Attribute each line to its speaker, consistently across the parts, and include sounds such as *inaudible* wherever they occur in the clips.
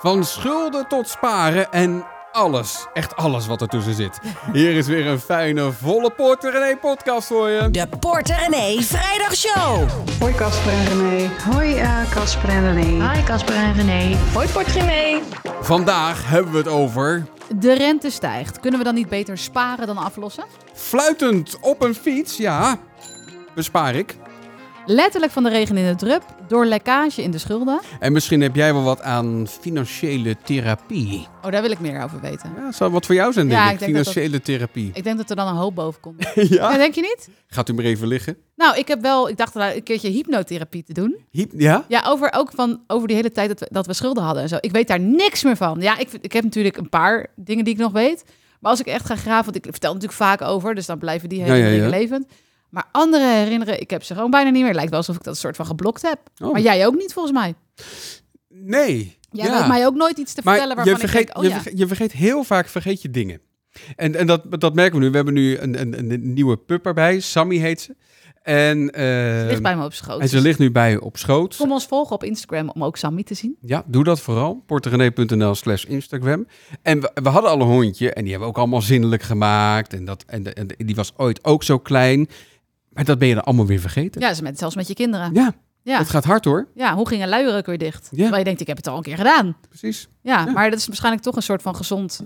Speaker 1: Van schulden tot sparen en alles. Echt alles wat ertussen zit. Hier is weer een fijne, volle Porter René podcast voor je.
Speaker 2: De Porter René Vrijdagshow.
Speaker 3: Hoi Casper en René. Hoi eh, Casper en René.
Speaker 4: Hi Casper en René. Hoi Portree.
Speaker 1: Vandaag hebben we het over
Speaker 4: De rente stijgt. Kunnen we dan niet beter sparen dan aflossen?
Speaker 1: fluitend op een fiets. Ja, bespaar ik.
Speaker 4: Letterlijk van de regen in de drup, door lekkage in de schulden.
Speaker 1: En misschien heb jij wel wat aan financiële therapie.
Speaker 4: Oh, daar wil ik meer over weten.
Speaker 1: Ja, zou wat voor jou zijn, denk
Speaker 4: Ja,
Speaker 1: ik.
Speaker 4: ik denk dat dat-
Speaker 1: financiële therapie.
Speaker 4: Ik denk dat er dan een hoop boven komt.
Speaker 1: *laughs* ja?
Speaker 4: Ja, denk je niet?
Speaker 1: Gaat u maar even liggen.
Speaker 4: Nou, ik heb wel, ik dacht wel een keertje hypnotherapie te doen.
Speaker 1: Hyp- ja?
Speaker 4: Ja, over, ook van, over die hele tijd dat we, dat we schulden hadden en zo. Ik weet daar niks meer van. Ja, ik, vind- ik heb natuurlijk een paar dingen die ik nog weet. Maar als ik echt ga graven, want ik vertel natuurlijk vaak over, dus dan blijven die hele
Speaker 1: Ja, ja,
Speaker 4: dingen
Speaker 1: ja.
Speaker 4: levend. Maar andere herinneren, ik heb ze gewoon bijna niet meer. Het lijkt wel alsof ik dat soort van geblokt heb.
Speaker 1: Oh.
Speaker 4: Maar jij ook niet, volgens mij.
Speaker 1: Nee.
Speaker 4: Jij weet mij ook nooit iets te vertellen waarvan
Speaker 1: je vergeet,
Speaker 4: ik denk, oh
Speaker 1: je,
Speaker 4: ja.
Speaker 1: verge- je vergeet heel vaak vergeet je dingen. En, en dat, dat merken we nu. We hebben nu een, een, een nieuwe pup erbij. Sammy heet ze. En, eh,
Speaker 4: ligt bij me op schoot.
Speaker 1: en ze ligt nu bij je op schoot.
Speaker 4: Kom ons volgen op Instagram om ook Sammy te zien.
Speaker 1: Ja, doe dat vooral. porterenee.nl slash Instagram. En we, we hadden al een hondje en die hebben we ook allemaal zinnelijk gemaakt. En, dat, en, de- en de- die was ooit ook zo klein. Maar dat ben je dan allemaal weer vergeten.
Speaker 4: Ja, ze met, zelfs met je kinderen.
Speaker 1: ja
Speaker 4: Ja,
Speaker 1: het gaat hard hoor.
Speaker 4: ja hoe ging een luier ook weer dicht?
Speaker 1: Ja.
Speaker 4: Terwijl je denkt, ik heb het al een keer gedaan.
Speaker 1: Precies.
Speaker 4: Ja,
Speaker 1: Ja.
Speaker 4: maar dat is waarschijnlijk toch een soort van gezond...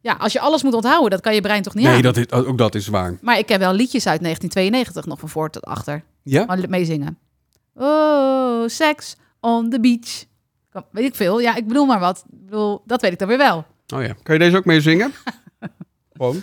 Speaker 4: Ja, als je alles moet onthouden, dat kan je brein toch niet
Speaker 1: Nee,
Speaker 4: aan?
Speaker 1: dat is, ook dat is waar.
Speaker 4: Maar ik heb wel liedjes uit 1992 nog van voor tot achter.
Speaker 1: Ja?
Speaker 4: Gewoon meezingen. Oh, sex on the beach. Kom, Weet ik veel. Ja, ik bedoel maar wat. Ik bedoel, dat weet ik dan weer wel.
Speaker 1: Oh ja. Kan je deze ook mee
Speaker 4: *laughs*
Speaker 1: zingen? Gewoon.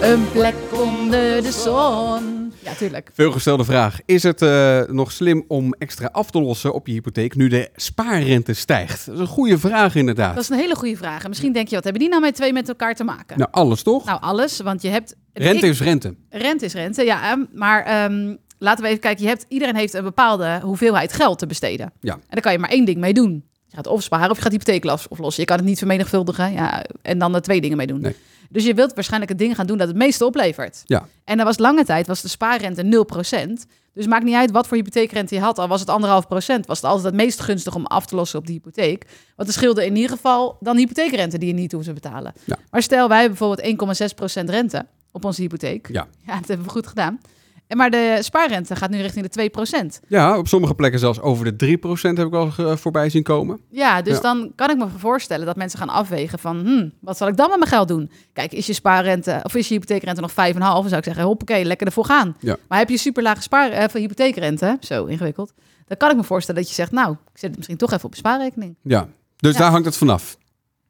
Speaker 4: Een plek onder de zon. Ja, tuurlijk.
Speaker 1: Veelgestelde vraag. Is het eh, nog slim om extra af te lossen op je hypotheek nu de spaarrente stijgt? Dat is een goede vraag inderdaad.
Speaker 4: Dat is een hele goede vraag. En misschien denk je, wat hebben die nou met twee met elkaar te maken?
Speaker 1: Nou, alles toch?
Speaker 4: Nou, alles, want je hebt...
Speaker 1: rente
Speaker 4: ik-
Speaker 1: is rente.
Speaker 4: rente is rente, ja. ehm, Maar ehm, laten we even kijken. Je hebt, iedereen heeft een bepaalde hoeveelheid geld te besteden.
Speaker 1: Ja.
Speaker 4: En daar kan je maar één ding mee doen. Je gaat of sparen of je gaat hypotheek af- aflossen. Je kan het niet vermenigvuldigen ja, en dan er twee dingen mee doen.
Speaker 1: Nee.
Speaker 4: Dus je wilt waarschijnlijk het ding gaan doen dat het meeste oplevert.
Speaker 1: Ja.
Speaker 4: En er was lange tijd was de spaarrente 0%. Dus maakt niet uit wat voor hypotheekrente je had. Al was het 1,5%, was het altijd het meest gunstig om af te lossen op die hypotheek. Want het scheelde in ieder geval dan hypotheekrente die je niet hoeft te betalen.
Speaker 1: Ja.
Speaker 4: Maar stel, wij hebben bijvoorbeeld 1,6% rente op onze hypotheek.
Speaker 1: Ja.
Speaker 4: dat hebben we goed gedaan. En maar de spaarrente gaat nu richting de 2%.
Speaker 1: Ja, op sommige plekken zelfs over de 3% heb ik wel eh, voorbij zien komen.
Speaker 4: Ja, dus
Speaker 1: Ja.
Speaker 4: dan kan ik me voorstellen dat mensen gaan afwegen van... hmm, wat zal ik dan met mijn geld doen? Kijk, is je spaarrente of is je hypotheekrente nog 5,5? Dan zou ik zeggen, hoppakee, lekker ervoor gaan.
Speaker 1: Ja.
Speaker 4: Maar heb je superlage spaar, eh, van hypotheekrente, zo ingewikkeld... dan kan ik me voorstellen dat je zegt... nou, ik zet het misschien toch even op mijn spaarrekening.
Speaker 1: Ja. Dus
Speaker 4: Ja.
Speaker 1: daar hangt het vanaf.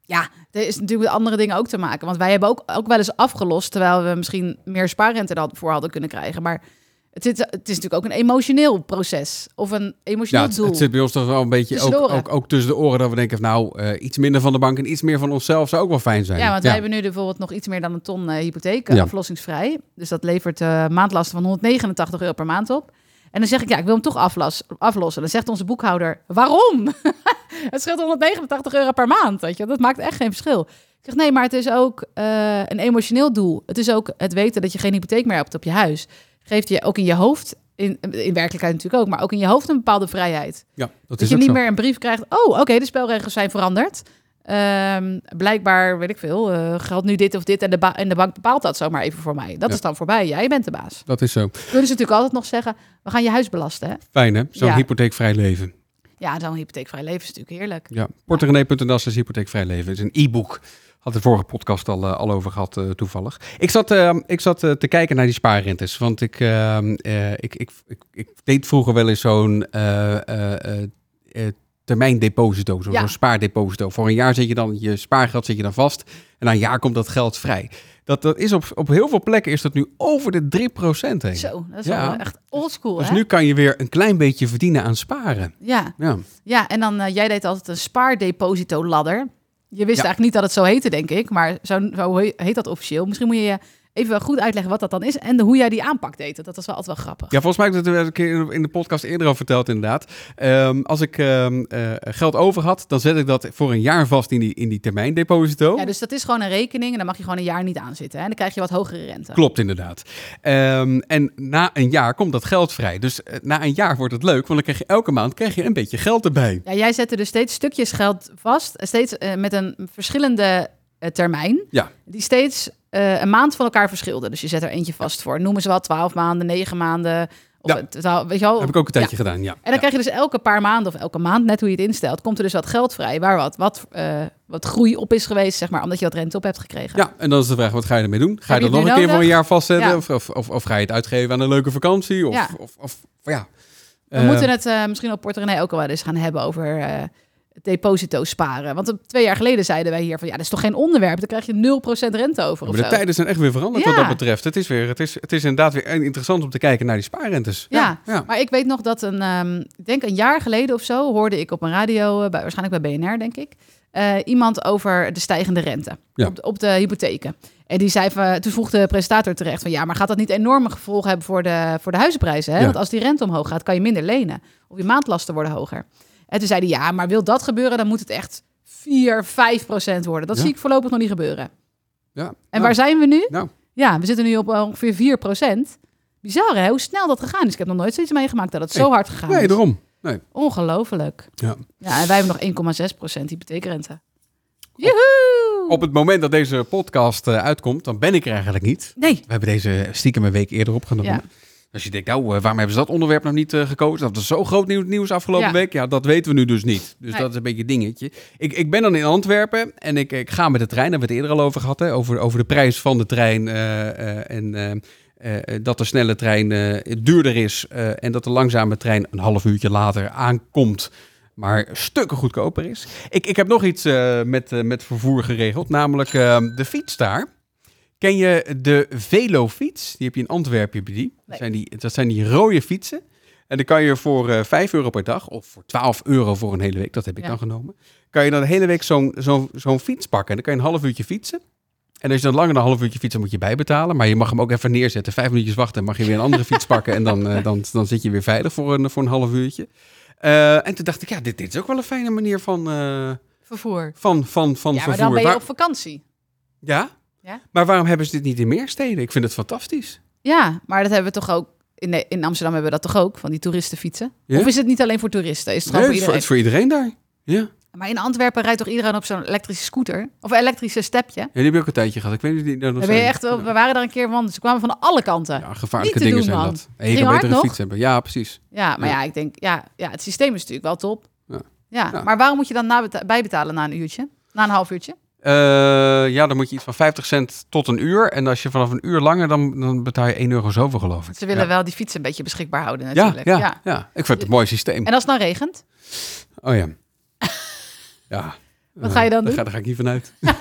Speaker 4: Ja, er is natuurlijk met andere dingen ook te maken. Want wij hebben ook, ook wel eens afgelost... terwijl we misschien meer spaarrente ervoor hadden kunnen krijgen. Maar het, zit, het is natuurlijk ook een emotioneel proces. Of een
Speaker 1: Ja,
Speaker 4: emotioneel
Speaker 1: het,
Speaker 4: doel.
Speaker 1: het zit bij ons toch wel een beetje
Speaker 4: Tussen
Speaker 1: ook,
Speaker 4: de oren.
Speaker 1: ook, ook tussen de oren dat we denken, van, nou, eh, iets minder van de bank en iets meer van onszelf zou ook wel fijn zijn.
Speaker 4: Ja, want wij hebben nu bijvoorbeeld nog iets meer dan een ton eh, hypotheek, eh,
Speaker 1: Ja.
Speaker 4: aflossingsvrij. Dus dat levert eh, maandlasten van 189 euro per maand op. En dan zeg ik, ja, ik wil hem toch aflas, aflossen. Dan zegt onze boekhouder, waarom? *laughs* het scheelt 189 euro per maand, weet je. Dat maakt echt geen verschil. Ik zeg, nee, maar het is ook eh, een emotioneel doel. Het is ook het weten dat je geen hypotheek meer hebt op je huis. Geeft je ook in je hoofd, in, in werkelijkheid natuurlijk ook, maar ook in je hoofd een bepaalde vrijheid.
Speaker 1: Ja, dat
Speaker 4: Dat
Speaker 1: is
Speaker 4: je
Speaker 1: ook
Speaker 4: niet
Speaker 1: zo.
Speaker 4: meer een brief krijgt. Oh, oké, de spelregels zijn veranderd. Ehm, blijkbaar, weet ik veel, eh, geldt nu dit of dit. En de, ba- en de bank bepaalt dat zomaar even voor mij. Dat
Speaker 1: Ja.
Speaker 4: is dan voorbij. Jij bent de baas.
Speaker 1: Dat is zo.
Speaker 4: Kunnen ze natuurlijk altijd nog zeggen: we gaan je huis belasten. Hè?
Speaker 1: Fijn hè? Zo'n
Speaker 4: Ja.
Speaker 1: hypotheekvrij leven.
Speaker 4: Ja, zo'n hypotheekvrij leven is natuurlijk heerlijk.
Speaker 1: Ja. Porterenee.nl is hypotheekvrij leven. Het is een e-book. Had de vorige podcast al, eh, al over gehad, eh, toevallig. Ik zat, eh, ik zat eh, te kijken naar die spaarrentes. Want ik, eh, eh, ik, ik, ik, ik deed vroeger wel eens zo'n eh, eh, eh, eh, termijndeposito. Zo'n
Speaker 4: Ja.
Speaker 1: zo'n spaardeposito. Voor een jaar zet je dan je spaargeld zet je dan vast. En na een jaar komt dat geld vrij. Dat, dat is op, op heel veel plekken is dat nu over de 3% heen.
Speaker 4: Zo, dat is
Speaker 1: Ja.
Speaker 4: wel echt oldschool.
Speaker 1: Dus
Speaker 4: hè?
Speaker 1: nu kan je weer een klein beetje verdienen aan sparen.
Speaker 4: Ja.
Speaker 1: Ja.
Speaker 4: ja, en dan, eh, jij deed altijd een spaardeposito ladder. Je wist
Speaker 1: Ja.
Speaker 4: eigenlijk niet dat het zo heette, denk ik. Maar zo, zo he- heet dat officieel. Misschien moet je je even goed uitleggen wat dat dan is en de, hoe jij die aanpak deed. Dat was wel altijd wel grappig.
Speaker 1: Ja, volgens mij heb ik dat een keer in de podcast eerder al verteld, inderdaad. Ehm, als ik ehm, eh, geld over had, dan zet ik dat voor een jaar vast in die, in die termijndeposito.
Speaker 4: Ja, dus dat is gewoon een rekening en dan mag je gewoon een jaar niet aan zitten. Hè? En dan krijg je wat hogere rente.
Speaker 1: Klopt, inderdaad. Ehm, en na een jaar komt dat geld vrij. Dus eh, na een jaar wordt het leuk, want dan krijg je elke maand krijg je een beetje geld erbij.
Speaker 4: Ja, jij zette dus steeds stukjes geld vast, eh, steeds eh, met een verschillende eh, termijn,
Speaker 1: Ja,
Speaker 4: die steeds eh, een maand van elkaar verschilden. Dus je zet er eentje vast voor. Noemen ze wel twaalf maanden, negen maanden. Of
Speaker 1: Ja.
Speaker 4: het- het- weet je wel,
Speaker 1: heb ik ook een
Speaker 4: Ja.
Speaker 1: tijdje gedaan, ja.
Speaker 4: En dan krijg je dus elke paar maanden of elke maand, net hoe je het instelt, komt er dus wat geld vrij. Waar wat, wat, eh, wat groei op is geweest, zeg maar, omdat je wat rente op hebt gekregen.
Speaker 1: Ja, en dan is de vraag, wat ga je ermee doen? Ga je
Speaker 4: Heb je
Speaker 1: dat
Speaker 4: het
Speaker 1: nog een
Speaker 4: nu
Speaker 1: keer voor een
Speaker 4: nodig?
Speaker 1: jaar vastzetten?
Speaker 4: Ja.
Speaker 1: Of, of, of, of ga je het uitgeven aan een leuke vakantie? Of,
Speaker 4: Ja.
Speaker 1: of, of, ja.
Speaker 4: We
Speaker 1: Eh,
Speaker 4: moeten het eh, misschien op Porto René ook al wel eens gaan hebben over eh deposito sparen. Want eh, twee jaar geleden zeiden wij hier van, ja, dat is toch geen onderwerp? Dan krijg je 0% rente over of
Speaker 1: maar de
Speaker 4: zo.
Speaker 1: tijden zijn echt weer veranderd wat
Speaker 4: Ja.
Speaker 1: dat betreft. Het is, weer, het, is, het is inderdaad weer interessant om te kijken naar die spaarrentes.
Speaker 4: Ja,
Speaker 1: ja.
Speaker 4: maar ik weet nog dat een, ehm, ik denk een jaar geleden of zo, hoorde ik op een radio, eh, bij, waarschijnlijk bij BNR, denk ik, eh, iemand over de stijgende rente
Speaker 1: Ja.
Speaker 4: op, de, op de hypotheken. En die zei van, toen vroeg de presentator terecht van, ja, maar gaat dat niet enorme gevolgen hebben voor de, voor de huizenprijzen? Hè?
Speaker 1: Ja.
Speaker 4: Want als die rente omhoog gaat, kan je minder lenen. Of je maandlasten worden hoger. En toen zei hij, ja, maar wil dat gebeuren, dan moet het echt 4, 5 procent worden. Dat
Speaker 1: Ja.
Speaker 4: zie ik voorlopig nog niet gebeuren.
Speaker 1: Ja.
Speaker 4: En
Speaker 1: Nou,
Speaker 4: waar zijn we nu?
Speaker 1: Nou.
Speaker 4: Ja, we zitten nu op eh, ongeveer 4 Bizar hè, hoe snel dat gegaan is. Ik heb nog nooit zoiets meegemaakt dat het
Speaker 1: Nee.
Speaker 4: zo hard gegaan
Speaker 1: Nee,
Speaker 4: is.
Speaker 1: daarom.
Speaker 4: Ongelooflijk.
Speaker 1: Ja.
Speaker 4: Ja, en wij hebben nog 1,6 hypotheekrente. Joehoe!
Speaker 1: Op het moment dat deze podcast eh, uitkomt, dan ben ik er eigenlijk niet.
Speaker 4: Nee.
Speaker 1: We hebben deze stiekem een week eerder opgenomen.
Speaker 4: Ja.
Speaker 1: Als je denkt, nou, eh, waarom hebben ze dat onderwerp nog niet eh, gekozen? Dat was zo groot nieuw- nieuws afgelopen
Speaker 4: Ja.
Speaker 1: week. Ja, dat weten we nu dus niet. Dus
Speaker 4: Nee.
Speaker 1: dat is een beetje een dingetje. Ik, ik ben dan in Antwerpen en ik, ik ga met de trein. Daar hebben we het eerder al over gehad. Hè, over, over de prijs van de trein. eh, eh, en eh, eh, dat de snelle trein eh, duurder is. eh, en dat de langzame trein een half uurtje later aankomt. Maar stukken goedkoper is. Ik, ik heb nog iets eh, met, eh, met vervoer geregeld. Namelijk eh, de fiets daar. Ken je de Velofiets? Die heb je in Antwerpen, heb je die. Dat,
Speaker 4: Nee.
Speaker 1: zijn die, dat zijn die rode fietsen. En dan kan je voor eh 5 euro per dag, of voor 12 euro voor een hele week, dat heb ik
Speaker 4: Ja.
Speaker 1: dan genomen, kan je dan de hele week zo'n zo'n zo'n fiets pakken. En dan kan je een half uurtje fietsen. En als je dan langer dan een half uurtje fietst, dan moet je bijbetalen. Maar je mag hem ook even neerzetten. Vijf minuutjes wachten, dan mag je weer een andere
Speaker 4: *laughs*
Speaker 1: fiets pakken. En dan, eh, dan, dan zit je weer veilig voor een, voor een half uurtje. Eh, en toen dacht ik, ja, dit, dit is ook wel een fijne manier van, eh,
Speaker 4: Vervoer.
Speaker 1: van, van, van
Speaker 4: Ja, maar
Speaker 1: vervoer.
Speaker 4: dan ben je
Speaker 1: Waar-
Speaker 4: op vakantie.
Speaker 1: ja?
Speaker 4: Ja?
Speaker 1: Maar waarom hebben ze dit niet in meer steden? Ik vind het fantastisch.
Speaker 4: Ja, maar dat hebben we toch ook... In, de- in Amsterdam hebben we dat toch ook, van die toeristenfietsen?
Speaker 1: Ja.
Speaker 4: Of is het niet alleen voor toeristen? Is het
Speaker 1: Nee,
Speaker 4: gewoon
Speaker 1: het, is
Speaker 4: voor
Speaker 1: voor,
Speaker 4: iedereen?
Speaker 1: het is voor iedereen daar. Ja. ja,
Speaker 4: Maar in Antwerpen rijdt toch iedereen op zo'n elektrische scooter? Of elektrische stepje?
Speaker 1: die heb ik ook een tijdje gehad. Ik weet niet of die daar nog
Speaker 4: Dan ben je
Speaker 1: zijn.
Speaker 4: echt wel,
Speaker 1: Ja.
Speaker 4: we waren daar een keer wandelen. Ze kwamen van alle kanten. Ja,
Speaker 1: Ja, gevaarlijke
Speaker 4: Niet
Speaker 1: dingen
Speaker 4: te doen,
Speaker 1: zijn
Speaker 4: man.
Speaker 1: dat. En je kan
Speaker 4: Ging hard
Speaker 1: beter een
Speaker 4: nog?
Speaker 1: fiets hebben. Ja, precies.
Speaker 4: maar
Speaker 1: Ja.
Speaker 4: ja, ik denk, ja, ja, het systeem is natuurlijk wel top.
Speaker 1: Ja.
Speaker 4: Ja.
Speaker 1: Ja.
Speaker 4: maar waarom moet je dan nabeta- bijbetalen na een uurtje? Na een half uurtje?
Speaker 1: Eh, ja, dan moet je iets van 50 cent tot een uur. En als je vanaf een uur langer, dan, dan betaal je 1 euro zoveel, geloof ik.
Speaker 4: Ze willen
Speaker 1: ja.
Speaker 4: wel die fietsen een beetje beschikbaar houden
Speaker 1: Ja,
Speaker 4: natuurlijk.
Speaker 1: ja, ja. ik vind het een mooi systeem.
Speaker 4: En als het nou regent?
Speaker 1: Oh ja. ja.
Speaker 4: Wat ga je dan
Speaker 1: Eh, Daar
Speaker 4: doen?
Speaker 1: ga, daar ga ik niet vanuit.
Speaker 4: Ja,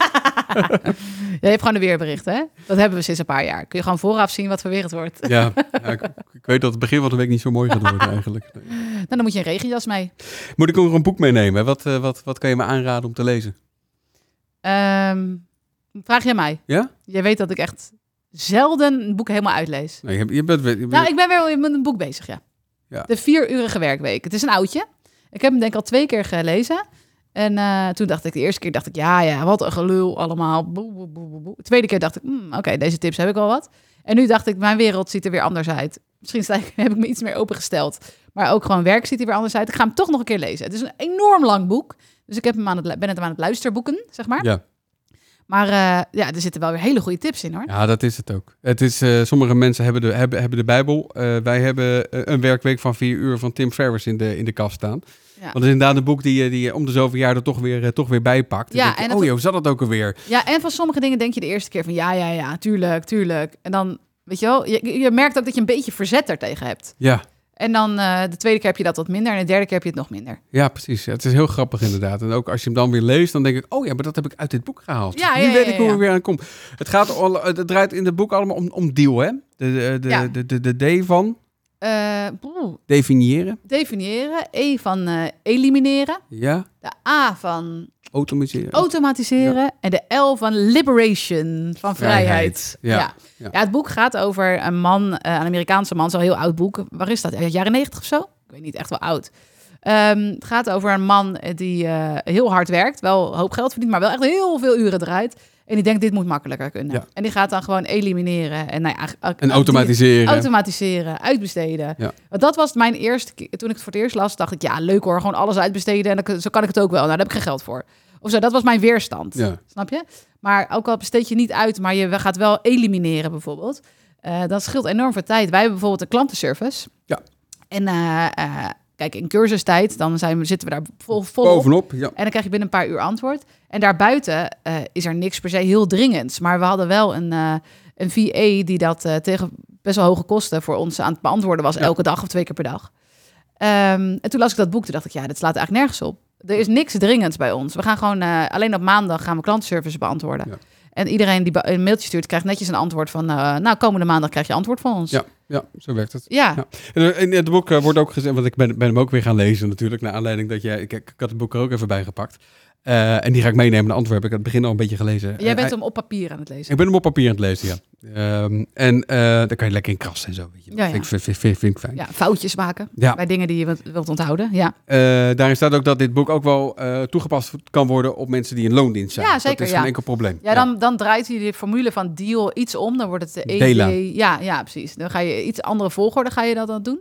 Speaker 4: je hebt gewoon een weerbericht, hè? Dat hebben we sinds een paar jaar. Kun je gewoon vooraf zien wat voor weer het wordt. *laughs*
Speaker 1: ja, ja ik, ik weet dat het begin van de week niet zo mooi gaat worden eigenlijk. Nee.
Speaker 4: Nou, dan moet je een regenjas mee.
Speaker 1: Moet ik ook nog een boek meenemen? Wat, eh, wat, wat kan je me aanraden om te lezen?
Speaker 4: Ehm, vraag je mij.
Speaker 1: Ja?
Speaker 4: Je weet dat ik echt zelden een boek helemaal uitlees.
Speaker 1: Nee, je, je bent, je bent-
Speaker 4: Nou, ik ben weer met een boek bezig, ja.
Speaker 1: Ja.
Speaker 4: De vieruurige werkweek. Het is een oudje. Ik heb hem denk ik al twee keer gelezen. En eh, toen dacht ik, de eerste keer dacht ik, ja, ja, wat een gelul allemaal. Boe, boe, boe, boe, boe. De tweede keer dacht ik, hmm, oké, deze tips heb ik al wat. En nu dacht ik, mijn wereld ziet er weer anders uit. Misschien sta ik- *laughs* heb ik me iets meer opengesteld. Maar ook gewoon werk ziet er weer anders uit. Ik ga hem toch nog een keer lezen. Het is een enorm lang boek. Dus ik heb hem aan het, lu- ben het aan het luisterboeken, zeg maar.
Speaker 1: ja.
Speaker 4: Maar eh, ja, er zitten wel weer hele goede tips in, hoor.
Speaker 1: ja, dat is het ook. Het is, eh, sommige mensen hebben de, hebben, hebben de Bijbel. Eh, wij hebben eh, een werkweek van vier uur van Tim Ferriss in de, in de kast staan.
Speaker 4: Ja.
Speaker 1: Want het is inderdaad een boek die je, die je om de zoveel jaar er toch weer, eh, toch weer bij pakt.
Speaker 4: Ja,
Speaker 1: Ja, en
Speaker 4: en
Speaker 1: je,
Speaker 4: het-
Speaker 1: oh joh, zat dat ook alweer?
Speaker 4: Ja, en van sommige dingen denk je de eerste keer van ja, ja, ja, tuurlijk, tuurlijk. En dan, weet je wel, je, je merkt ook dat je een beetje verzet daartegen hebt.
Speaker 1: Ja,
Speaker 4: En dan eh, de tweede keer heb je dat wat minder en de derde keer heb je het nog minder.
Speaker 1: ja precies. Ja, het is heel grappig inderdaad. En ook als je hem dan weer leest, dan denk ik... oh ja, maar dat heb ik uit dit boek gehaald.
Speaker 4: Ja,
Speaker 1: nu
Speaker 4: ja, ja,
Speaker 1: weet ik hoe
Speaker 4: ja.
Speaker 1: ik weer aan kom. Het, gaat al, het draait in het boek allemaal om, om deal, hè? De, de, de,
Speaker 4: Ja.
Speaker 1: de, de, de D van...
Speaker 4: eh, poeh,
Speaker 1: Definiëren.
Speaker 4: definiëren. E van eh, elimineren.
Speaker 1: Ja.
Speaker 4: De A van
Speaker 1: Automatiseren.
Speaker 4: automatiseren. En de L van liberation, van vrijheid.
Speaker 1: Vrijheid, ja.
Speaker 4: Ja.
Speaker 1: Ja.
Speaker 4: Ja, het boek gaat over een man, eh, een Amerikaanse man, zo'n heel oud boek. Waar is dat? Uit de jaren negentig of zo? Ik weet niet, echt wel oud. Ehm, het gaat over een man eh, die eh, heel hard werkt, wel een hoop geld verdient, maar wel echt heel veel uren draait. En die denkt, dit moet makkelijker kunnen.
Speaker 1: Ja.
Speaker 4: En die gaat dan gewoon elimineren. En, nou ja, a-
Speaker 1: en
Speaker 4: a-
Speaker 1: automatiseren.
Speaker 4: Automatiseren, uitbesteden.
Speaker 1: Ja.
Speaker 4: Want dat was mijn eerste keer. Toen ik het voor het eerst las, dacht ik, ja, leuk hoor, gewoon alles uitbesteden. En dan, zo kan ik het ook wel. Nou, daar heb ik geen geld voor. Of zo, dat was mijn weerstand.
Speaker 1: Ja.
Speaker 4: Snap je? Maar ook al besteed je niet uit, maar je gaat wel elimineren bijvoorbeeld. Eh, dat scheelt enorm veel tijd. Wij hebben bijvoorbeeld een klantenservice.
Speaker 1: Ja.
Speaker 4: En eh, eh, kijk, in cursustijd, dan zijn we, zitten we daar vol, volop.
Speaker 1: Bovenop. Ja.
Speaker 4: En dan krijg je binnen een paar uur antwoord. En daarbuiten eh, is er niks per se heel dringends. Maar we hadden wel een, eh een VA die dat eh, tegen best wel hoge kosten voor ons aan het beantwoorden was.
Speaker 1: Ja.
Speaker 4: Elke dag of twee keer per dag. Ehm, en toen las ik dat boek, toen dacht ik, ja, dit slaat eigenlijk nergens op. Er is niks dringends bij ons. We gaan gewoon, eh, alleen op maandag gaan we klantenservice beantwoorden.
Speaker 1: Ja.
Speaker 4: En iedereen die ba- een mailtje stuurt, krijgt netjes een antwoord van, eh, nou, komende maandag krijg je antwoord van ons.
Speaker 1: Ja, ja, zo werkt het.
Speaker 4: Ja.
Speaker 1: Ja. En er- in het boek eh, wordt ook gezegd, want ik ben, ben hem ook weer gaan lezen natuurlijk, naar aanleiding dat jij, ik, ik had het boek er ook even bij gepakt. Eh, en die ga ik meenemen naar Antwerpen. Ik had het begin al een beetje gelezen.
Speaker 4: Jij
Speaker 1: Eh,
Speaker 4: bent hem op papier aan het lezen.
Speaker 1: Ik ben hem op papier aan het lezen, ja. Ehm, en eh, daar kan je lekker in krassen en zo. Weet je. wel.
Speaker 4: Ja, ja.
Speaker 1: Vind, ik- vind, vind- vind- vind ik fijn.
Speaker 4: Ja, foutjes maken
Speaker 1: Ja.
Speaker 4: bij dingen die je wilt, wilt onthouden. Ja,
Speaker 1: Eh, daarin staat ook dat dit boek ook wel eh, toegepast kan worden op mensen die in loondienst zijn.
Speaker 4: Ja, zeker,
Speaker 1: Dat is
Speaker 4: ja.
Speaker 1: geen enkel probleem.
Speaker 4: ja, dan, dan draait hij de formule van deal iets om. Dan wordt het de ED.
Speaker 1: Dela.
Speaker 4: Ja, ja, precies. Dan ga je iets andere volgorde ga je dat dan doen.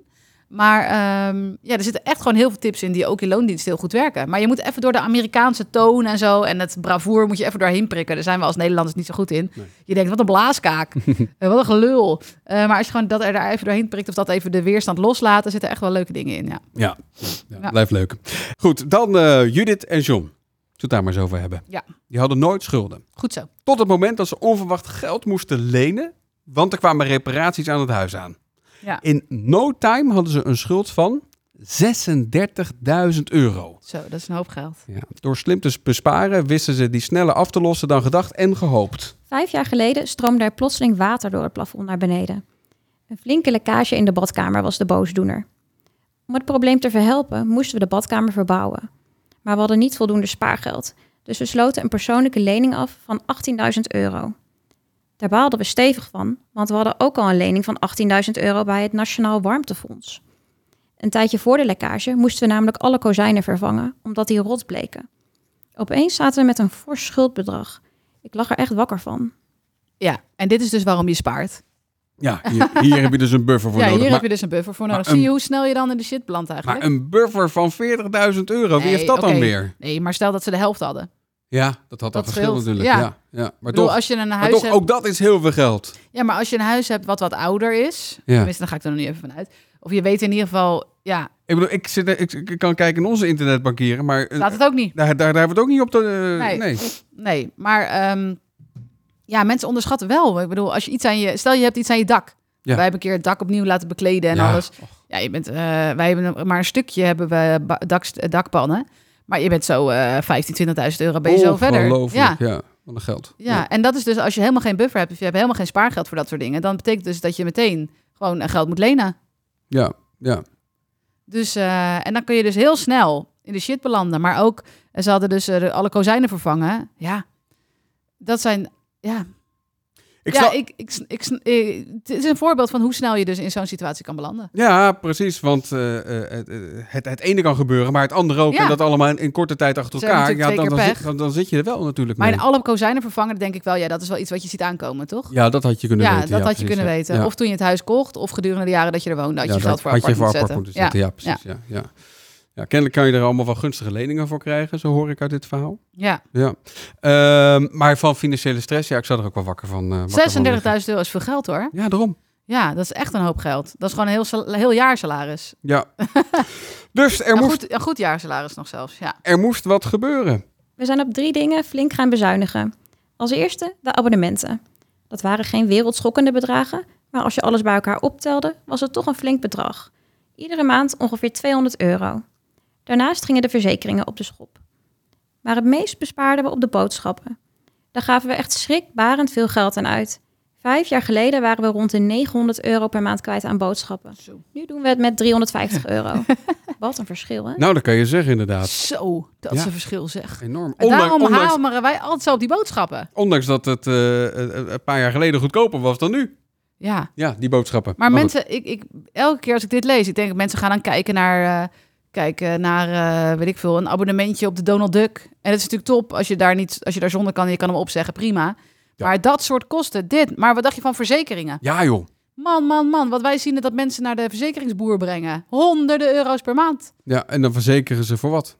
Speaker 4: Maar ehm, ja, er zitten echt gewoon heel veel tips in die ook in loondienst heel goed werken. Maar je moet even door de Amerikaanse toon en zo. En het bravoer moet je even doorheen prikken. Daar zijn we als Nederlanders niet zo goed in. Je denkt, wat een blaaskaak. Eh, wat een gelul. Eh, maar als je gewoon dat er daar even doorheen prikt of dat even de weerstand loslaat, dan zitten echt wel leuke dingen in. Ja,
Speaker 1: Ja, ja, ja,
Speaker 4: Ja.
Speaker 1: blijft leuk. Goed, dan eh, Judith en John. Zullen we het daar maar eens over hebben.
Speaker 4: Ja.
Speaker 1: Die hadden nooit schulden.
Speaker 4: goed zo.
Speaker 1: Tot het moment dat ze onverwacht geld moesten lenen, want er kwamen reparaties aan het huis aan.
Speaker 4: Ja.
Speaker 1: In no time hadden ze een schuld van 36.000 euro.
Speaker 4: Zo, dat is een hoop geld.
Speaker 1: Ja. Door slim te besparen wisten ze die sneller af te lossen dan gedacht en gehoopt.
Speaker 5: Vijf jaar geleden stroomde er plotseling water door het plafond naar beneden. Een flinke lekkage in de badkamer was de boosdoener. Om het probleem te verhelpen moesten we de badkamer verbouwen. Maar we hadden niet voldoende spaargeld, dus we sloten een persoonlijke lening af van 18.000 euro. Daar baalden we stevig van, want we hadden ook al een lening van 18.000 euro bij het Nationaal Warmtefonds. Een tijdje voor de lekkage moesten we namelijk alle kozijnen vervangen, omdat die rot bleken. Opeens zaten we met een fors schuldbedrag. Ik lag er echt wakker van.
Speaker 4: Ja, en dit is dus waarom je spaart.
Speaker 1: Ja,
Speaker 4: *laughs*
Speaker 1: hier, hier heb je dus een buffer voor
Speaker 4: ja,
Speaker 1: nodig.
Speaker 4: hier
Speaker 1: maar,
Speaker 4: heb je dus een buffer voor nodig.
Speaker 1: maar
Speaker 4: Zie
Speaker 1: een-
Speaker 4: je hoe snel je dan in de shit belandt eigenlijk?
Speaker 1: maar een buffer van 40.000 euro, wie
Speaker 4: Nee,
Speaker 1: heeft dat dan
Speaker 4: oké.
Speaker 1: weer?
Speaker 4: Nee, maar stel dat ze de helft hadden. Ik
Speaker 1: Ja, dat had
Speaker 4: Dat
Speaker 1: dat verschil
Speaker 4: scheelt,
Speaker 1: natuurlijk. Ja.
Speaker 4: ja.
Speaker 1: Ja, Maar,
Speaker 4: bedoel,
Speaker 1: toch,
Speaker 4: als je een
Speaker 1: maar
Speaker 4: huis
Speaker 1: toch,
Speaker 4: hebt...
Speaker 1: ook dat is heel veel geld.
Speaker 4: Ja, maar als je een huis hebt wat wat ouder is...
Speaker 1: Ja.
Speaker 4: Tenminste, dan ga ik er nog niet even vanuit. Of je weet in ieder geval... Ja,
Speaker 1: Ik bedoel, ik, zit, ik, ik kan kijken in onze internetbankieren, maar eh,
Speaker 4: laat het ook niet.
Speaker 1: daar, daar, daar hebben we het ook niet op te... eh, nee.
Speaker 4: Nee. Nee, maar... ehm, ja, mensen onderschatten wel. Ik bedoel, als je iets aan je... Stel, je hebt iets aan je dak. Wij hebben een keer het dak opnieuw laten bekleden en
Speaker 1: Ja.
Speaker 4: alles. Ja, je bent, eh, wij hebben maar een stukje hebben we ba- dak, dakpannen. Maar je bent zo eh 15, 20.000 euro ben je zo verder.
Speaker 1: Ongelooflijk, ja. Wat een geld.
Speaker 4: Ja, en dat is dus als je helemaal geen buffer hebt, of je hebt helemaal geen spaargeld voor dat soort dingen, dan betekent dus dat je meteen gewoon eh, geld moet lenen.
Speaker 1: Ja, ja.
Speaker 4: Dus, eh, en dan kun je dus heel snel in de shit belanden. Maar ook, eh, ze hadden dus eh, de- alle kozijnen vervangen. Ja, dat zijn, ja.
Speaker 1: Ik
Speaker 4: ja,
Speaker 1: snap-
Speaker 4: ik, ik, sn- ik, sn- eh, het is een voorbeeld van hoe snel je dus in zo'n situatie kan belanden.
Speaker 1: ja precies, want eh, eh, het, eh, het, het ene kan gebeuren, maar het andere ook.
Speaker 4: Ja.
Speaker 1: En dat allemaal in, in korte tijd achter
Speaker 4: Ze hebben
Speaker 1: elkaar. Ja,
Speaker 4: natuurlijk
Speaker 1: dan,
Speaker 4: twee
Speaker 1: dan,
Speaker 4: keer
Speaker 1: zit,
Speaker 4: pech.
Speaker 1: dan, dan zit je er wel natuurlijk
Speaker 4: Maar
Speaker 1: mee.
Speaker 4: in alle kozijnen vervangen denk ik wel, ja, dat is wel iets wat je ziet aankomen, toch?
Speaker 1: Ja, dat had je kunnen
Speaker 4: Ja,
Speaker 1: weten.
Speaker 4: dat had je
Speaker 1: precies,
Speaker 4: kunnen
Speaker 1: ja.
Speaker 4: weten.
Speaker 1: Ja.
Speaker 4: Of toen je het huis kocht, of gedurende de jaren dat je er woonde, had
Speaker 1: Ja,
Speaker 4: je
Speaker 1: dat
Speaker 4: geld voor
Speaker 1: had je
Speaker 4: apart
Speaker 1: voor
Speaker 4: moeten
Speaker 1: apart
Speaker 4: zetten.
Speaker 1: moeten zetten. Ja, precies. Ja. Ja, Ja, kennelijk kan je er allemaal wel gunstige leningen voor krijgen, zo hoor ik uit dit verhaal.
Speaker 4: ja.
Speaker 1: Ja. Ehm, maar van financiële stress, ja, ik zou er ook wel wakker van. eh, wakker van liggen.
Speaker 4: 36.000 euro is veel geld hoor.
Speaker 1: Ja, daarom.
Speaker 4: Ja, dat is echt een hoop geld. Dat is gewoon een heel, sal- heel jaar salaris. *laughs*
Speaker 1: Ja. dus er
Speaker 4: Een
Speaker 1: moest,
Speaker 4: Nou, goed, een goed jaar salaris nog zelfs, ja.
Speaker 1: er moest wat gebeuren.
Speaker 5: We zijn op drie dingen flink gaan bezuinigen. Als eerste de abonnementen. Dat waren geen wereldschokkende bedragen, maar als je alles bij elkaar optelde, was het toch een flink bedrag. Iedere maand ongeveer 200 euro. Daarnaast gingen de verzekeringen op de schop. Maar het meest bespaarden we op de boodschappen. Daar gaven we echt schrikbarend veel geld aan uit. Vijf jaar geleden waren we rond de 900 euro per maand kwijt aan boodschappen.
Speaker 4: Zo.
Speaker 5: Nu doen we het met 350 euro. Wat een verschil, hè?
Speaker 1: Nou, dat kan je zeggen inderdaad.
Speaker 4: Zo, dat
Speaker 1: Ja.
Speaker 4: is een verschil zeg.
Speaker 1: Enorm.
Speaker 4: En
Speaker 1: Ondanks,
Speaker 4: daarom
Speaker 1: ondanks,
Speaker 4: hameren wij altijd zo op die boodschappen.
Speaker 1: ondanks dat het eh, eh, een paar jaar geleden goedkoper was dan nu.
Speaker 4: Ja.
Speaker 1: Ja, die boodschappen.
Speaker 4: Maar
Speaker 1: goed.
Speaker 4: mensen, ik, ik, elke keer als ik dit lees, ik denk mensen gaan dan kijken naar, eh, kijken naar eh, weet ik veel, een abonnementje op de Donald Duck. En dat is natuurlijk top als je daar, niet, als je daar zonder kan en je kan hem opzeggen, prima.
Speaker 1: Ja.
Speaker 4: Maar dat soort kosten, dit. Maar wat dacht je van verzekeringen?
Speaker 1: Ja joh.
Speaker 4: Man, man, man, wat wij zien is dat mensen naar de verzekeringsboer brengen. Honderden euro's per maand.
Speaker 1: Ja, en dan verzekeren ze voor wat?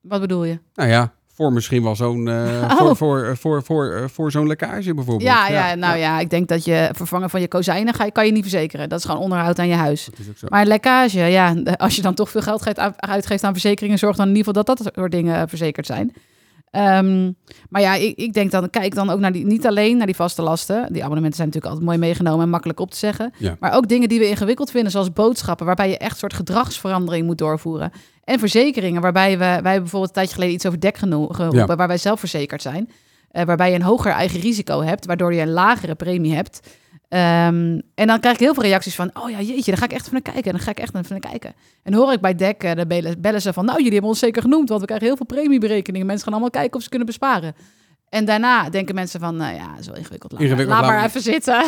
Speaker 4: Wat bedoel je?
Speaker 1: Nou ja, voor misschien wel zo'n... eh,
Speaker 4: Oh.
Speaker 1: Voor, voor, eh, voor, voor, eh, voor zo'n lekkage bijvoorbeeld.
Speaker 4: Ja, ja, nou ja, ik denk dat je vervangen van je kozijnen ga, je- kan je niet verzekeren. Dat is gewoon onderhoud aan je huis.
Speaker 1: Dat is ook zo.
Speaker 4: Maar lekkage, ja, als je dan toch veel geld geeft- uitgeeft aan verzekeringen, zorg dan in ieder geval dat dat soort dingen eh, verzekerd zijn. Ehm, maar ja, ik, ik denk dan, kijk dan ook naar die, niet alleen naar die vaste lasten. Die abonnementen zijn natuurlijk altijd mooi meegenomen en makkelijk op te zeggen.
Speaker 1: Ja.
Speaker 4: Maar ook dingen die we ingewikkeld vinden, zoals boodschappen, waarbij je echt een soort gedragsverandering moet doorvoeren. En verzekeringen, waarbij we, wij hebben bijvoorbeeld een tijdje geleden iets over dek geno- geroepen,
Speaker 1: Ja.
Speaker 4: waar wij zelf verzekerd zijn. Eh, waarbij je een hoger eigen risico hebt, waardoor je een lagere premie hebt. Ehm, en dan krijg ik heel veel reacties van, oh ja, jeetje, daar ga ik echt van naar kijken. Dan ga ik echt van naar kijken. En hoor ik bij DEC, eh, dan bellen, bellen ze van... nou, jullie hebben ons zeker genoemd, want we krijgen heel veel premieberekeningen. Mensen gaan allemaal kijken of ze kunnen besparen. En daarna denken mensen van, nou ja, dat is wel ingewikkeld. Laat, maar-
Speaker 1: Ingewikkeld,
Speaker 4: laat maar
Speaker 1: laat-
Speaker 4: even zitten.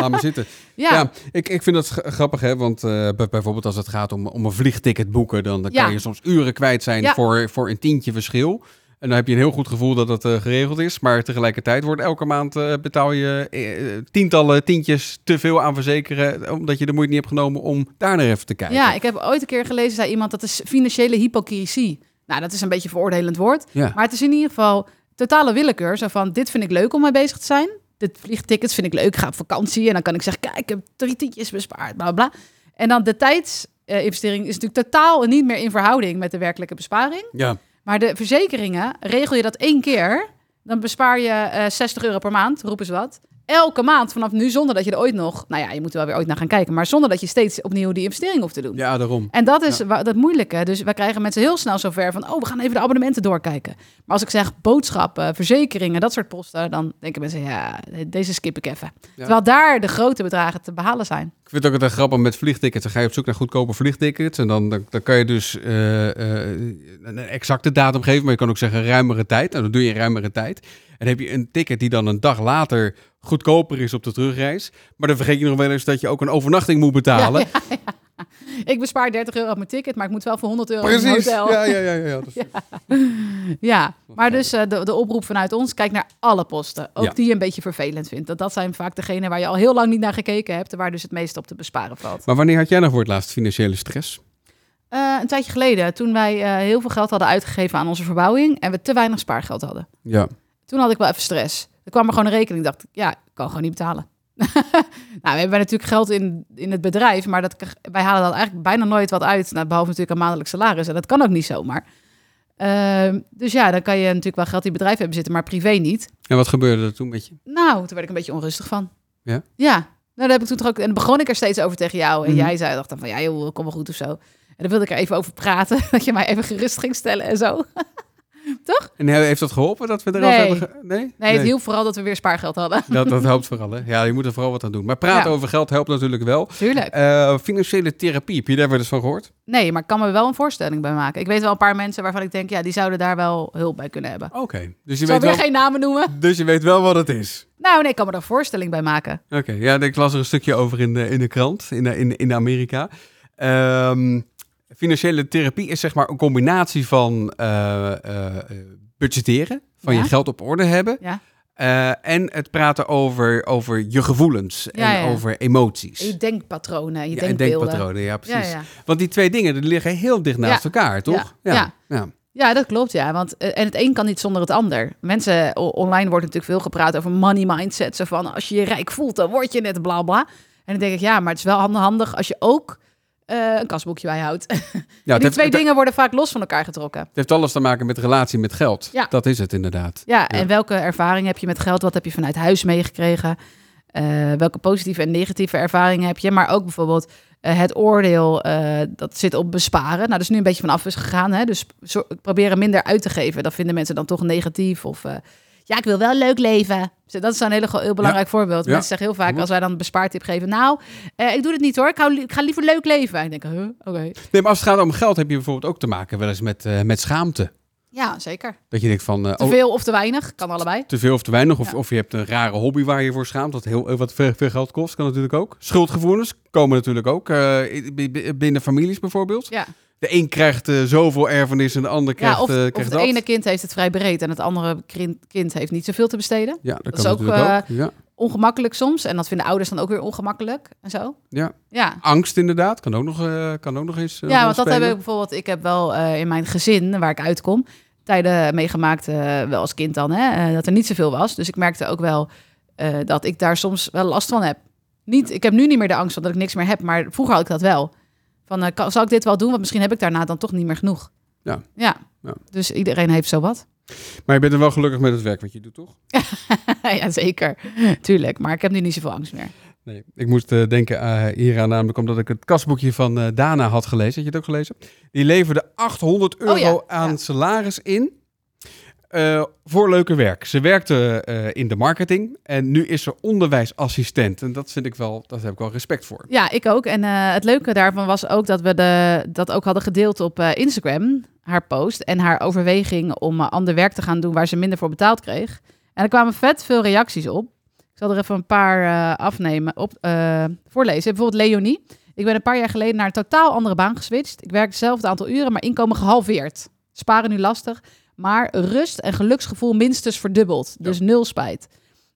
Speaker 1: Laat maar zitten.
Speaker 4: Ja,
Speaker 1: Ja,
Speaker 4: *laughs* ja,
Speaker 1: ik, ik vind dat g- grappig, hè? Want eh, bij- bijvoorbeeld als het gaat om, om een vliegticket boeken, dan, dan
Speaker 4: Ja.
Speaker 1: kan je soms uren kwijt zijn
Speaker 4: Ja.
Speaker 1: voor, voor een tientje verschil. En dan heb je een heel goed gevoel dat dat eh, geregeld is. Maar tegelijkertijd wordt elke maand eh, betaal je eh, tientallen tientjes te veel aan verzekeren. Omdat je de moeite niet hebt genomen om daar naar even te kijken.
Speaker 4: ik heb ooit een keer gelezen, zei iemand, dat is financiële hypocrisie. Nou, dat is een beetje een veroordelend woord.
Speaker 1: Ja.
Speaker 4: Maar het is in ieder geval totale willekeur. Zo van, dit vind ik leuk om mee bezig te zijn. Dit vliegtickets vind ik leuk. Ik ga op vakantie. En dan kan ik zeggen, kijk, ik heb drie tientjes bespaard. Bla, bla. bla. En dan de tijdsinvestering is natuurlijk totaal niet meer in verhouding met de werkelijke besparing.
Speaker 1: ja.
Speaker 4: Maar de verzekeringen, regel je dat één keer, dan bespaar je eh, 60 euro per maand, roepen ze wat. Elke maand vanaf nu, zonder dat je er ooit nog... Nou ja, je moet er wel weer ooit naar gaan kijken. Maar zonder dat je steeds opnieuw die investering hoeft te doen.
Speaker 1: ja, daarom.
Speaker 4: En dat is wa- dat moeilijke. Dus wij krijgen mensen heel snel zover van... oh, we gaan even de abonnementen doorkijken. Maar als ik zeg boodschappen, verzekeringen, dat soort posten... dan denken mensen, ja, deze skip ik even. Terwijl daar de grote bedragen te behalen zijn.
Speaker 1: Ik vind het ook het grappig met vliegtickets. Dan ga je op zoek naar goedkope vliegtickets. En dan, dan, dan kan je dus eh, eh, een exacte datum geven. Maar je kan ook zeggen ruimere tijd. Nou, dan doe je ruimere tijd. En heb je een ticket die dan een dag later goedkoper is op de terugreis. Maar dan vergeet je nog wel eens dat je ook een overnachting moet betalen.
Speaker 4: Ik bespaar 30 euro op mijn ticket, maar ik moet wel voor 100 euro in een
Speaker 1: Precies.
Speaker 4: hotel.
Speaker 1: Ja, ja, ja. ja,
Speaker 4: *laughs*
Speaker 1: ja. Dat is-
Speaker 4: Ja, maar dus eh, de, de oproep vanuit ons, kijk naar alle posten. Ook
Speaker 1: Ja.
Speaker 4: die je een beetje vervelend vindt. Dat, dat zijn vaak degenen waar je al heel lang niet naar gekeken hebt... en waar dus het meest op te besparen valt.
Speaker 1: Maar wanneer had jij nou voor het laatst financiële stress?
Speaker 4: Eh, een tijdje geleden, toen wij eh, heel veel geld hadden uitgegeven aan onze verbouwing... en we te weinig spaargeld hadden.
Speaker 1: Ja.
Speaker 4: Toen had ik wel even stress. Er kwam er gewoon een rekening. Dacht ik, ja, ik kan gewoon niet betalen. *laughs* nou, we hebben natuurlijk geld in, in het bedrijf, maar dat, wij halen dan eigenlijk bijna nooit wat uit. Nou, behalve natuurlijk een maandelijk salaris. En dat kan ook niet zomaar. Ehm, dus ja, dan kan je natuurlijk wel geld in het bedrijf hebben zitten, maar privé niet.
Speaker 1: En wat gebeurde er toen met je?
Speaker 4: Nou, toen werd ik een beetje onrustig van.
Speaker 1: Ja?
Speaker 4: Ja. Nou, daar heb ik toen toch ook... En dan begon ik er steeds over tegen jou. En
Speaker 1: Mhm.
Speaker 4: jij zei, dacht dan van, ja joh, kom wel goed of zo. En dan wilde ik er even over praten. *laughs* Dat je mij even gerust ging stellen en zo.
Speaker 1: En he- heeft dat geholpen dat we er al
Speaker 4: Nee.
Speaker 1: hebben... ge- Nee? Nee,
Speaker 4: Nee, het hielp vooral dat we weer spaargeld hadden.
Speaker 1: Dat, dat helpt vooral, hè? Ja, je moet er vooral wat aan doen. Maar praten
Speaker 4: Ja.
Speaker 1: over geld helpt natuurlijk wel.
Speaker 4: Tuurlijk.
Speaker 1: Eh, financiële therapie, heb je daar wel eens van gehoord?
Speaker 4: Nee, maar ik kan me wel een voorstelling bij maken. Ik weet wel een paar mensen waarvan ik denk, ja, die zouden daar wel hulp bij kunnen hebben.
Speaker 1: Oké, dus, je
Speaker 4: Ik zal
Speaker 1: weet
Speaker 4: weer
Speaker 1: wel,
Speaker 4: geen namen noemen.
Speaker 1: dus je weet wel wat het is.
Speaker 4: Nou, nee, ik kan me daar een voorstelling bij maken.
Speaker 1: Oké, ja, ik las er een stukje over in de, in de krant in, in, in Amerika. Ehm, financiële therapie is zeg maar een combinatie van eh, eh, eh, budgetteren, van
Speaker 4: Ja.
Speaker 1: je geld op orde hebben.
Speaker 4: Ja.
Speaker 1: eh, en het praten over, over je gevoelens
Speaker 4: Ja,
Speaker 1: en
Speaker 4: ja.
Speaker 1: over emoties.
Speaker 4: En Je denkpatronen, je
Speaker 1: Ja, en
Speaker 4: denkbeelden.
Speaker 1: denkpatronen, ja precies.
Speaker 4: Ja, ja.
Speaker 1: Want die twee dingen die liggen heel dicht naast elkaar, toch?
Speaker 4: Ja.
Speaker 1: ja. ja.
Speaker 4: Ja, dat klopt, ja. Want, eh, en het een kan niet zonder het ander. Mensen, o- online wordt natuurlijk veel gepraat over money mindset. Zo van, als je je rijk voelt, dan word je net bla bla. En dan denk ik, ja, maar het is wel hand- handig als je ook eh, een kasboekje bijhoudt.
Speaker 1: Ja, het
Speaker 4: *laughs* Die
Speaker 1: heeft-
Speaker 4: twee
Speaker 1: het-
Speaker 4: dingen worden vaak los van elkaar getrokken.
Speaker 1: Het heeft alles te maken met relatie met geld.
Speaker 4: Ja.
Speaker 1: Dat is het inderdaad.
Speaker 4: Ja, en welke ervaring heb je met geld? Wat heb je vanuit huis meegekregen? Eh, welke positieve en negatieve ervaringen heb je? Maar ook bijvoorbeeld eh, het oordeel eh, dat zit op besparen. Nou, dat is nu een beetje van af is gegaan. Hè? Dus zo- proberen minder uit te geven. Dat vinden mensen dan toch negatief. Of eh, Ja, ik wil wel leuk leven. Zo, Dat is zo'n hele, heel belangrijk voorbeeld.
Speaker 1: Ja.
Speaker 4: Mensen zeggen heel vaak, als wij dan een bespaartip geven... Nou, eh, ik doe het niet hoor. Ik, hou li- ik ga liever leuk leven. Ik denk, huh? oké.
Speaker 1: Nee, maar als het gaat om geld heb je bijvoorbeeld ook te maken wel eens met, eh, met schaamte.
Speaker 4: Ja, zeker.
Speaker 1: Dat je denkt van, eh,
Speaker 4: Te
Speaker 1: oh,
Speaker 4: veel of te weinig. Kan allebei.
Speaker 1: te veel of te weinig. Of,
Speaker 4: Ja.
Speaker 1: of je hebt een rare hobby waar je voor schaamt, dat heel, eh, wat veel, veel geld kost. Kan natuurlijk ook. Schuldgevoelens komen natuurlijk ook. eh, b- b- binnen families bijvoorbeeld.
Speaker 4: Ja,
Speaker 1: De een krijgt eh, zoveel erfenis en de ander krijgt,
Speaker 4: ja of,
Speaker 1: eh,
Speaker 4: of
Speaker 1: krijgt
Speaker 4: het
Speaker 1: dat.
Speaker 4: ene kind heeft het vrij breed... en het andere kind, kind heeft niet zoveel te besteden.
Speaker 1: Ja, dat,
Speaker 4: is
Speaker 1: kan
Speaker 4: ook, eh,
Speaker 1: natuurlijk ook. Ja.
Speaker 4: Ongemakkelijk soms. En dat vinden ouders dan ook weer ongemakkelijk. En zo.
Speaker 1: Ja.
Speaker 4: Ja.
Speaker 1: Angst inderdaad, kan ook nog, eh, kan ook nog eens eh,
Speaker 4: Ja,
Speaker 1: een
Speaker 4: want
Speaker 1: rol
Speaker 4: dat heb ik
Speaker 1: spelen.
Speaker 4: bijvoorbeeld. Ik heb wel eh, in mijn gezin, waar ik uitkom, tijden meegemaakt, eh, wel als kind dan, hè, eh, dat er niet zoveel was. Dus ik merkte ook wel eh, dat ik daar soms wel last van heb. Niet, ik heb nu niet meer de angst van dat ik niks meer heb, maar vroeger had ik dat wel. Van, eh, kan, zal ik dit wel doen? Want misschien heb ik daarna dan toch niet meer genoeg.
Speaker 1: Ja.
Speaker 4: Ja.
Speaker 1: Ja.
Speaker 4: Dus iedereen heeft zo wat.
Speaker 1: Maar je bent er wel gelukkig met het werk wat je doet, toch?
Speaker 4: *laughs* ja, zeker. Tuurlijk. Maar ik heb nu niet zoveel angst meer.
Speaker 1: Nee, ik moest eh, denken eh, hieraan namelijk omdat ik het kasboekje van eh, Dana had gelezen. Had je het ook gelezen? Die leverde 800 euro
Speaker 4: Oh ja,
Speaker 1: aan
Speaker 4: ja.
Speaker 1: salaris in eh, voor leuke werk. Ze werkte eh, in de marketing en nu is ze onderwijsassistent. En dat vind ik wel, daar heb ik wel respect voor.
Speaker 4: Ja, ik ook. En eh, het leuke daarvan was ook dat we de, dat ook hadden gedeeld op eh, Instagram, haar post en haar overweging om eh, ander werk te gaan doen waar ze minder voor betaald kreeg. En er kwamen vet veel reacties op. Ik zal er even een paar eh, afnemen, op, eh, voorlezen. Bijvoorbeeld Leonie. Ik ben een paar jaar geleden naar een totaal andere baan geswitcht. Ik werk hetzelfde aantal uren, maar inkomen gehalveerd. Sparen nu lastig, maar rust en geluksgevoel minstens verdubbeld. Dus nul spijt.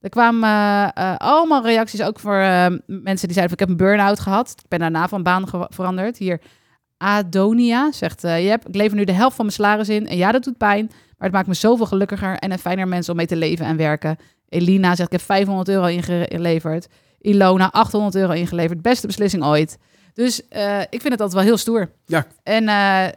Speaker 4: Er kwamen eh, eh, allemaal reacties ook voor eh, mensen die zeiden... van, ik heb een burn-out gehad. Ik ben daarna van baan ge- veranderd. Hier, Adonia zegt... eh, "Jep, ik lever nu de helft van mijn salaris in. En ja, dat doet pijn. Maar het maakt me zoveel gelukkiger en een fijner mens om mee te leven en werken. Elina zegt, ik heb 500 euro ingeleverd. Ilona, 800 euro ingeleverd. Beste beslissing ooit. Dus eh, ik vind het altijd wel heel stoer.
Speaker 1: Ja.
Speaker 4: En eh, eh,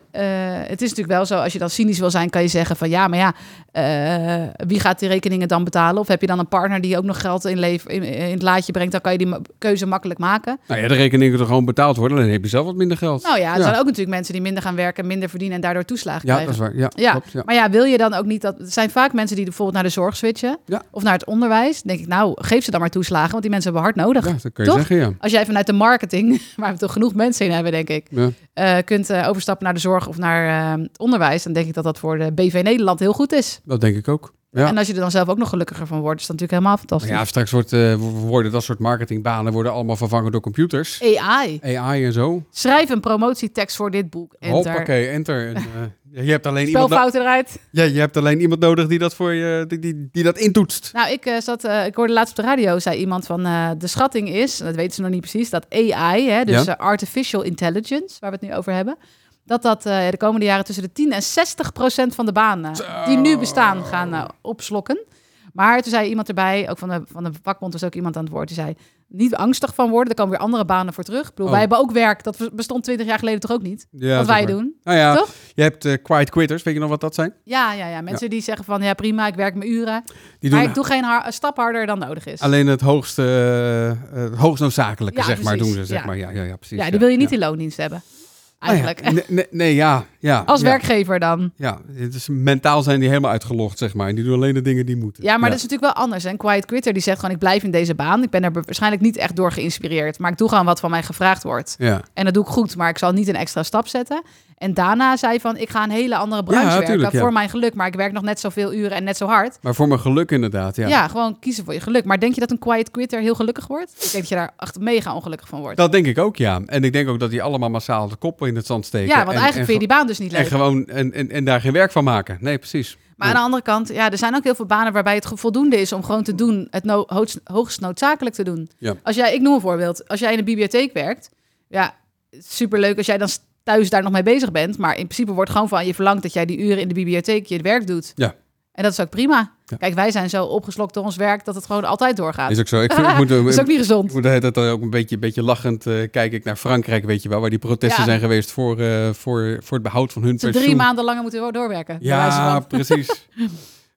Speaker 4: het is natuurlijk wel zo, als je dan cynisch wil zijn, kan je zeggen van ja, maar ja, eh, wie gaat die rekeningen dan betalen? Of heb je dan een partner die ook nog geld in, lever- in, in het laadje brengt? Dan kan je die ma- keuze makkelijk maken.
Speaker 1: Nou ja, de rekeningen er gewoon betaald worden, dan heb je zelf wat minder geld.
Speaker 4: Nou ja, er
Speaker 1: Ja.
Speaker 4: zijn ook natuurlijk mensen die minder gaan werken, minder verdienen en daardoor toeslagen
Speaker 1: ja, dat
Speaker 4: krijgen.
Speaker 1: is waar. Ja,
Speaker 4: Ja,
Speaker 1: klopt, ja.
Speaker 4: maar ja, wil je dan ook niet dat... Er zijn vaak mensen die bijvoorbeeld naar de zorg switchen
Speaker 1: Ja.
Speaker 4: of naar het onderwijs. Dan denk ik, nou, geef ze dan maar toeslagen, want die mensen hebben hard nodig.
Speaker 1: Ja, dat kun je
Speaker 4: Toch?
Speaker 1: zeggen, ja.
Speaker 4: Als jij vanuit de marketing, *laughs* waar we toch genoeg mensen in hebben, denk ik,
Speaker 1: ja.
Speaker 4: eh, kunt eh, overstappen naar de zorg of naar eh, het onderwijs, dan denk ik dat dat voor de BV Nederland heel goed is.
Speaker 1: Dat denk ik ook. Ja.
Speaker 4: En als je er dan zelf ook nog gelukkiger van wordt, is dat natuurlijk helemaal
Speaker 1: Maar
Speaker 4: fantastisch.
Speaker 1: ja, straks wordt, eh, worden dat soort marketingbanen worden allemaal vervangen door computers.
Speaker 4: AI.
Speaker 1: AI en zo.
Speaker 4: Schrijf een promotietekst voor dit boek. Enter.
Speaker 1: Hoppakee, enter. En, eh, je, hebt alleen iemand no-
Speaker 4: Spelfouten eruit.
Speaker 1: ja, je hebt alleen iemand nodig die dat, voor je, die, die, die dat intoetst.
Speaker 4: Nou, ik, eh, zat, eh, ik hoorde laatst op de radio, zei iemand van eh, de schatting is, en dat weten ze nog niet precies, dat AI, hè, dus
Speaker 1: Ja.
Speaker 4: eh, artificial intelligence, waar we het nu over hebben, dat dat eh, de komende jaren tussen de 10 en 60 procent van de banen die nu bestaan gaan eh, opslokken. Maar toen zei iemand erbij, ook van de, van de vakbond was ook iemand aan het woord, die zei, niet angstig van worden, er komen weer andere banen voor terug. Ik bedoel,
Speaker 1: Oh.
Speaker 4: Wij hebben ook werk, dat bestond 20 jaar geleden toch ook niet?
Speaker 1: Ja,
Speaker 4: wat
Speaker 1: zeg
Speaker 4: wij
Speaker 1: maar.
Speaker 4: doen.
Speaker 1: Nou ja,
Speaker 4: Toch?
Speaker 1: je hebt eh quiet quitters. Weet je nog wat dat zijn?
Speaker 4: Ja, ja, ja. Mensen die zeggen van, ja prima, ik werk mijn uren,
Speaker 1: Die
Speaker 4: maar
Speaker 1: doen
Speaker 4: ik doe geen har- stap harder dan nodig is.
Speaker 1: alleen het hoogste, eh, eh, het hoogst noodzakelijke,
Speaker 4: Ja,
Speaker 1: zeg maar,
Speaker 4: precies.
Speaker 1: doen ze. Zeg
Speaker 4: Ja.
Speaker 1: maar. Ja, ja, ja, precies.
Speaker 4: Ja, die wil je niet
Speaker 1: ja.
Speaker 4: in loondienst hebben.
Speaker 1: Nou ja,
Speaker 4: Eigenlijk.
Speaker 1: nee, nee, nee, ja. ja
Speaker 4: *laughs* Als
Speaker 1: ja.
Speaker 4: werkgever dan.
Speaker 1: Ja, het is, mentaal zijn die helemaal uitgelogd, zeg maar. En die doen alleen de dingen die moeten.
Speaker 4: Ja, maar dus- dat is natuurlijk wel anders. En Quiet Quitter die zegt gewoon, ik blijf in deze baan. Ik ben er waarschijnlijk niet echt door geïnspireerd. Maar ik doe gewoon wat van mij gevraagd wordt.
Speaker 1: Ja,
Speaker 4: En dat doe ik goed, maar ik zal niet een extra stap zetten. En daarna zei van, ik ga een hele andere branche
Speaker 1: Ja,
Speaker 4: werken.
Speaker 1: tuurlijk, ja.
Speaker 4: Voor mijn geluk, maar ik werk nog net zoveel uren en net zo hard.
Speaker 1: maar voor mijn geluk inderdaad,
Speaker 4: Ja.
Speaker 1: ja.
Speaker 4: gewoon kiezen voor je geluk. Maar denk je dat een Quiet Quitter heel gelukkig wordt? Ik denk dat je daar echt mega ongelukkig van wordt.
Speaker 1: Dat denk ik ook, ja. En ik denk ook dat die allemaal massaal de koppen in het zand steken.
Speaker 4: ja, want
Speaker 1: en,
Speaker 4: eigenlijk
Speaker 1: en
Speaker 4: vind je die baan dus niet leuk.
Speaker 1: En gewoon en, en, en daar geen werk van maken. Nee, precies.
Speaker 4: Maar aan de andere kant, ja, er zijn ook heel veel banen waarbij het ge- voldoende is om gewoon te doen, het no- hoogst, hoogst noodzakelijk te doen.
Speaker 1: Ja.
Speaker 4: Als jij, ik noem een voorbeeld, als jij in de bibliotheek werkt, ja, superleuk als jij dan s- thuis daar nog mee bezig bent, maar in principe wordt gewoon van je verlangt dat jij die uren in de bibliotheek je werk doet.
Speaker 1: Ja.
Speaker 4: En dat is ook prima.
Speaker 1: Ja.
Speaker 4: Kijk, wij zijn zo opgeslokt door ons werk dat het gewoon altijd doorgaat.
Speaker 1: Is ook zo. Ik, vind- ik moet,
Speaker 4: Dat *laughs* is ook niet
Speaker 1: ik
Speaker 4: gezond.
Speaker 1: moet de hele tijd dan ook een beetje, een beetje lachend eh, kijk ik naar Frankrijk, weet je wel, waar die protesten
Speaker 4: Ja.
Speaker 1: zijn geweest voor, eh, voor, voor het behoud van hun
Speaker 4: Ze
Speaker 1: pensioen.
Speaker 4: drie maanden langer moeten doorwerken. bij wijze *laughs*
Speaker 1: Ja,
Speaker 4: van.
Speaker 1: precies.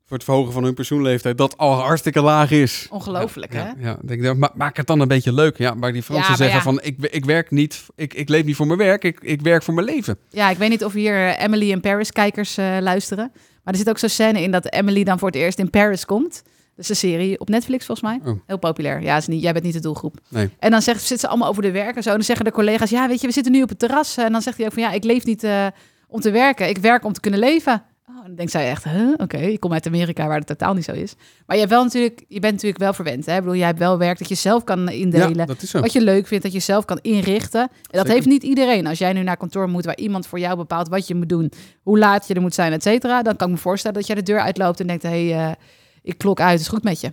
Speaker 1: voor het verhogen van hun pensioenleeftijd, dat al hartstikke laag is.
Speaker 4: Ongelooflijk, hè?
Speaker 1: Ja, ja. Ik denk, nou, ma- maak het dan een beetje leuk. Ja, maar die Fransen
Speaker 4: Ja, maar
Speaker 1: zeggen
Speaker 4: ja.
Speaker 1: van, ik, ik werk niet, ik, ik leef niet voor mijn werk, ik, ik werk voor mijn leven.
Speaker 4: Ja, ik weet niet of hier eh, Emily in Paris kijkers eh, luisteren. Maar er zit ook zo'n scène in dat Emily dan voor het eerst in Paris komt. Dat is een serie op Netflix volgens mij.
Speaker 1: Oh.
Speaker 4: Heel populair. Ja, is niet, jij bent niet de doelgroep.
Speaker 1: Nee.
Speaker 4: En dan zegt, zitten ze allemaal over de werk en zo. En dan zeggen de collega's, ja weet je, we zitten nu op het terras. En dan zegt hij ook van, ja, ik leef niet eh, om te werken. Ik werk om te kunnen leven. Oh, en dan denkt zij echt, huh? oké, ik kom uit Amerika waar dat totaal niet zo is. Maar je, hebt wel natuurlijk, je bent natuurlijk wel verwend. Hè? Ik bedoel, jij hebt wel werk dat je zelf kan indelen.
Speaker 1: Ja, dat is zo.
Speaker 4: Wat je leuk vindt, dat je zelf kan inrichten. En dat
Speaker 1: Zeker.
Speaker 4: heeft niet iedereen. Als jij nu naar kantoor moet waar iemand voor jou bepaalt wat je moet doen, hoe laat je er moet zijn, et cetera. Dan kan ik me voorstellen dat jij de deur uitloopt en denkt, hé, hey, eh, ik klok uit, is goed met je.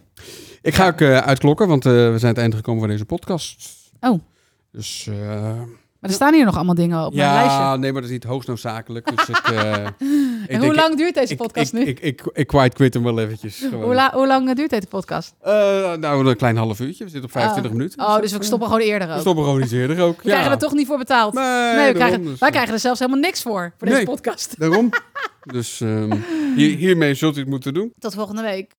Speaker 1: Ik ga ook eh, uitklokken, want eh, we zijn aan het einde gekomen van deze podcast.
Speaker 4: Oh.
Speaker 1: Dus eh,
Speaker 4: Maar er staan hier nog allemaal dingen op mijn lijstje.
Speaker 1: ja, nee, maar dat is niet hoogst noodzakelijk. Dus ik,
Speaker 4: *laughs*
Speaker 1: eh, ik
Speaker 4: En
Speaker 1: denk,
Speaker 4: hoe
Speaker 1: ik-
Speaker 4: lang duurt deze
Speaker 1: ik-
Speaker 4: podcast
Speaker 1: ik,
Speaker 4: nu?
Speaker 1: Ik, ik, ik, quite quit hem wel eventjes. gewoon.
Speaker 4: hoe, la- hoe lang eh, duurt deze podcast?
Speaker 1: Eh, nou, een klein half uurtje. We zitten op 25
Speaker 4: Oh.
Speaker 1: minuten.
Speaker 4: Oh, dus we stoppen gewoon eerder
Speaker 1: We
Speaker 4: ook.
Speaker 1: stoppen gewoon iets eerder ook.
Speaker 4: We krijgen er toch niet voor betaald.
Speaker 1: Nee,
Speaker 4: we
Speaker 1: daarom,
Speaker 4: krijgen,
Speaker 1: dus,
Speaker 4: wij
Speaker 1: eh,
Speaker 4: krijgen er zelfs helemaal niks voor, voor deze
Speaker 1: Nee.
Speaker 4: podcast.
Speaker 1: Daarom. Dus ehm, hier- hiermee zult u het moeten doen.
Speaker 4: Tot volgende week.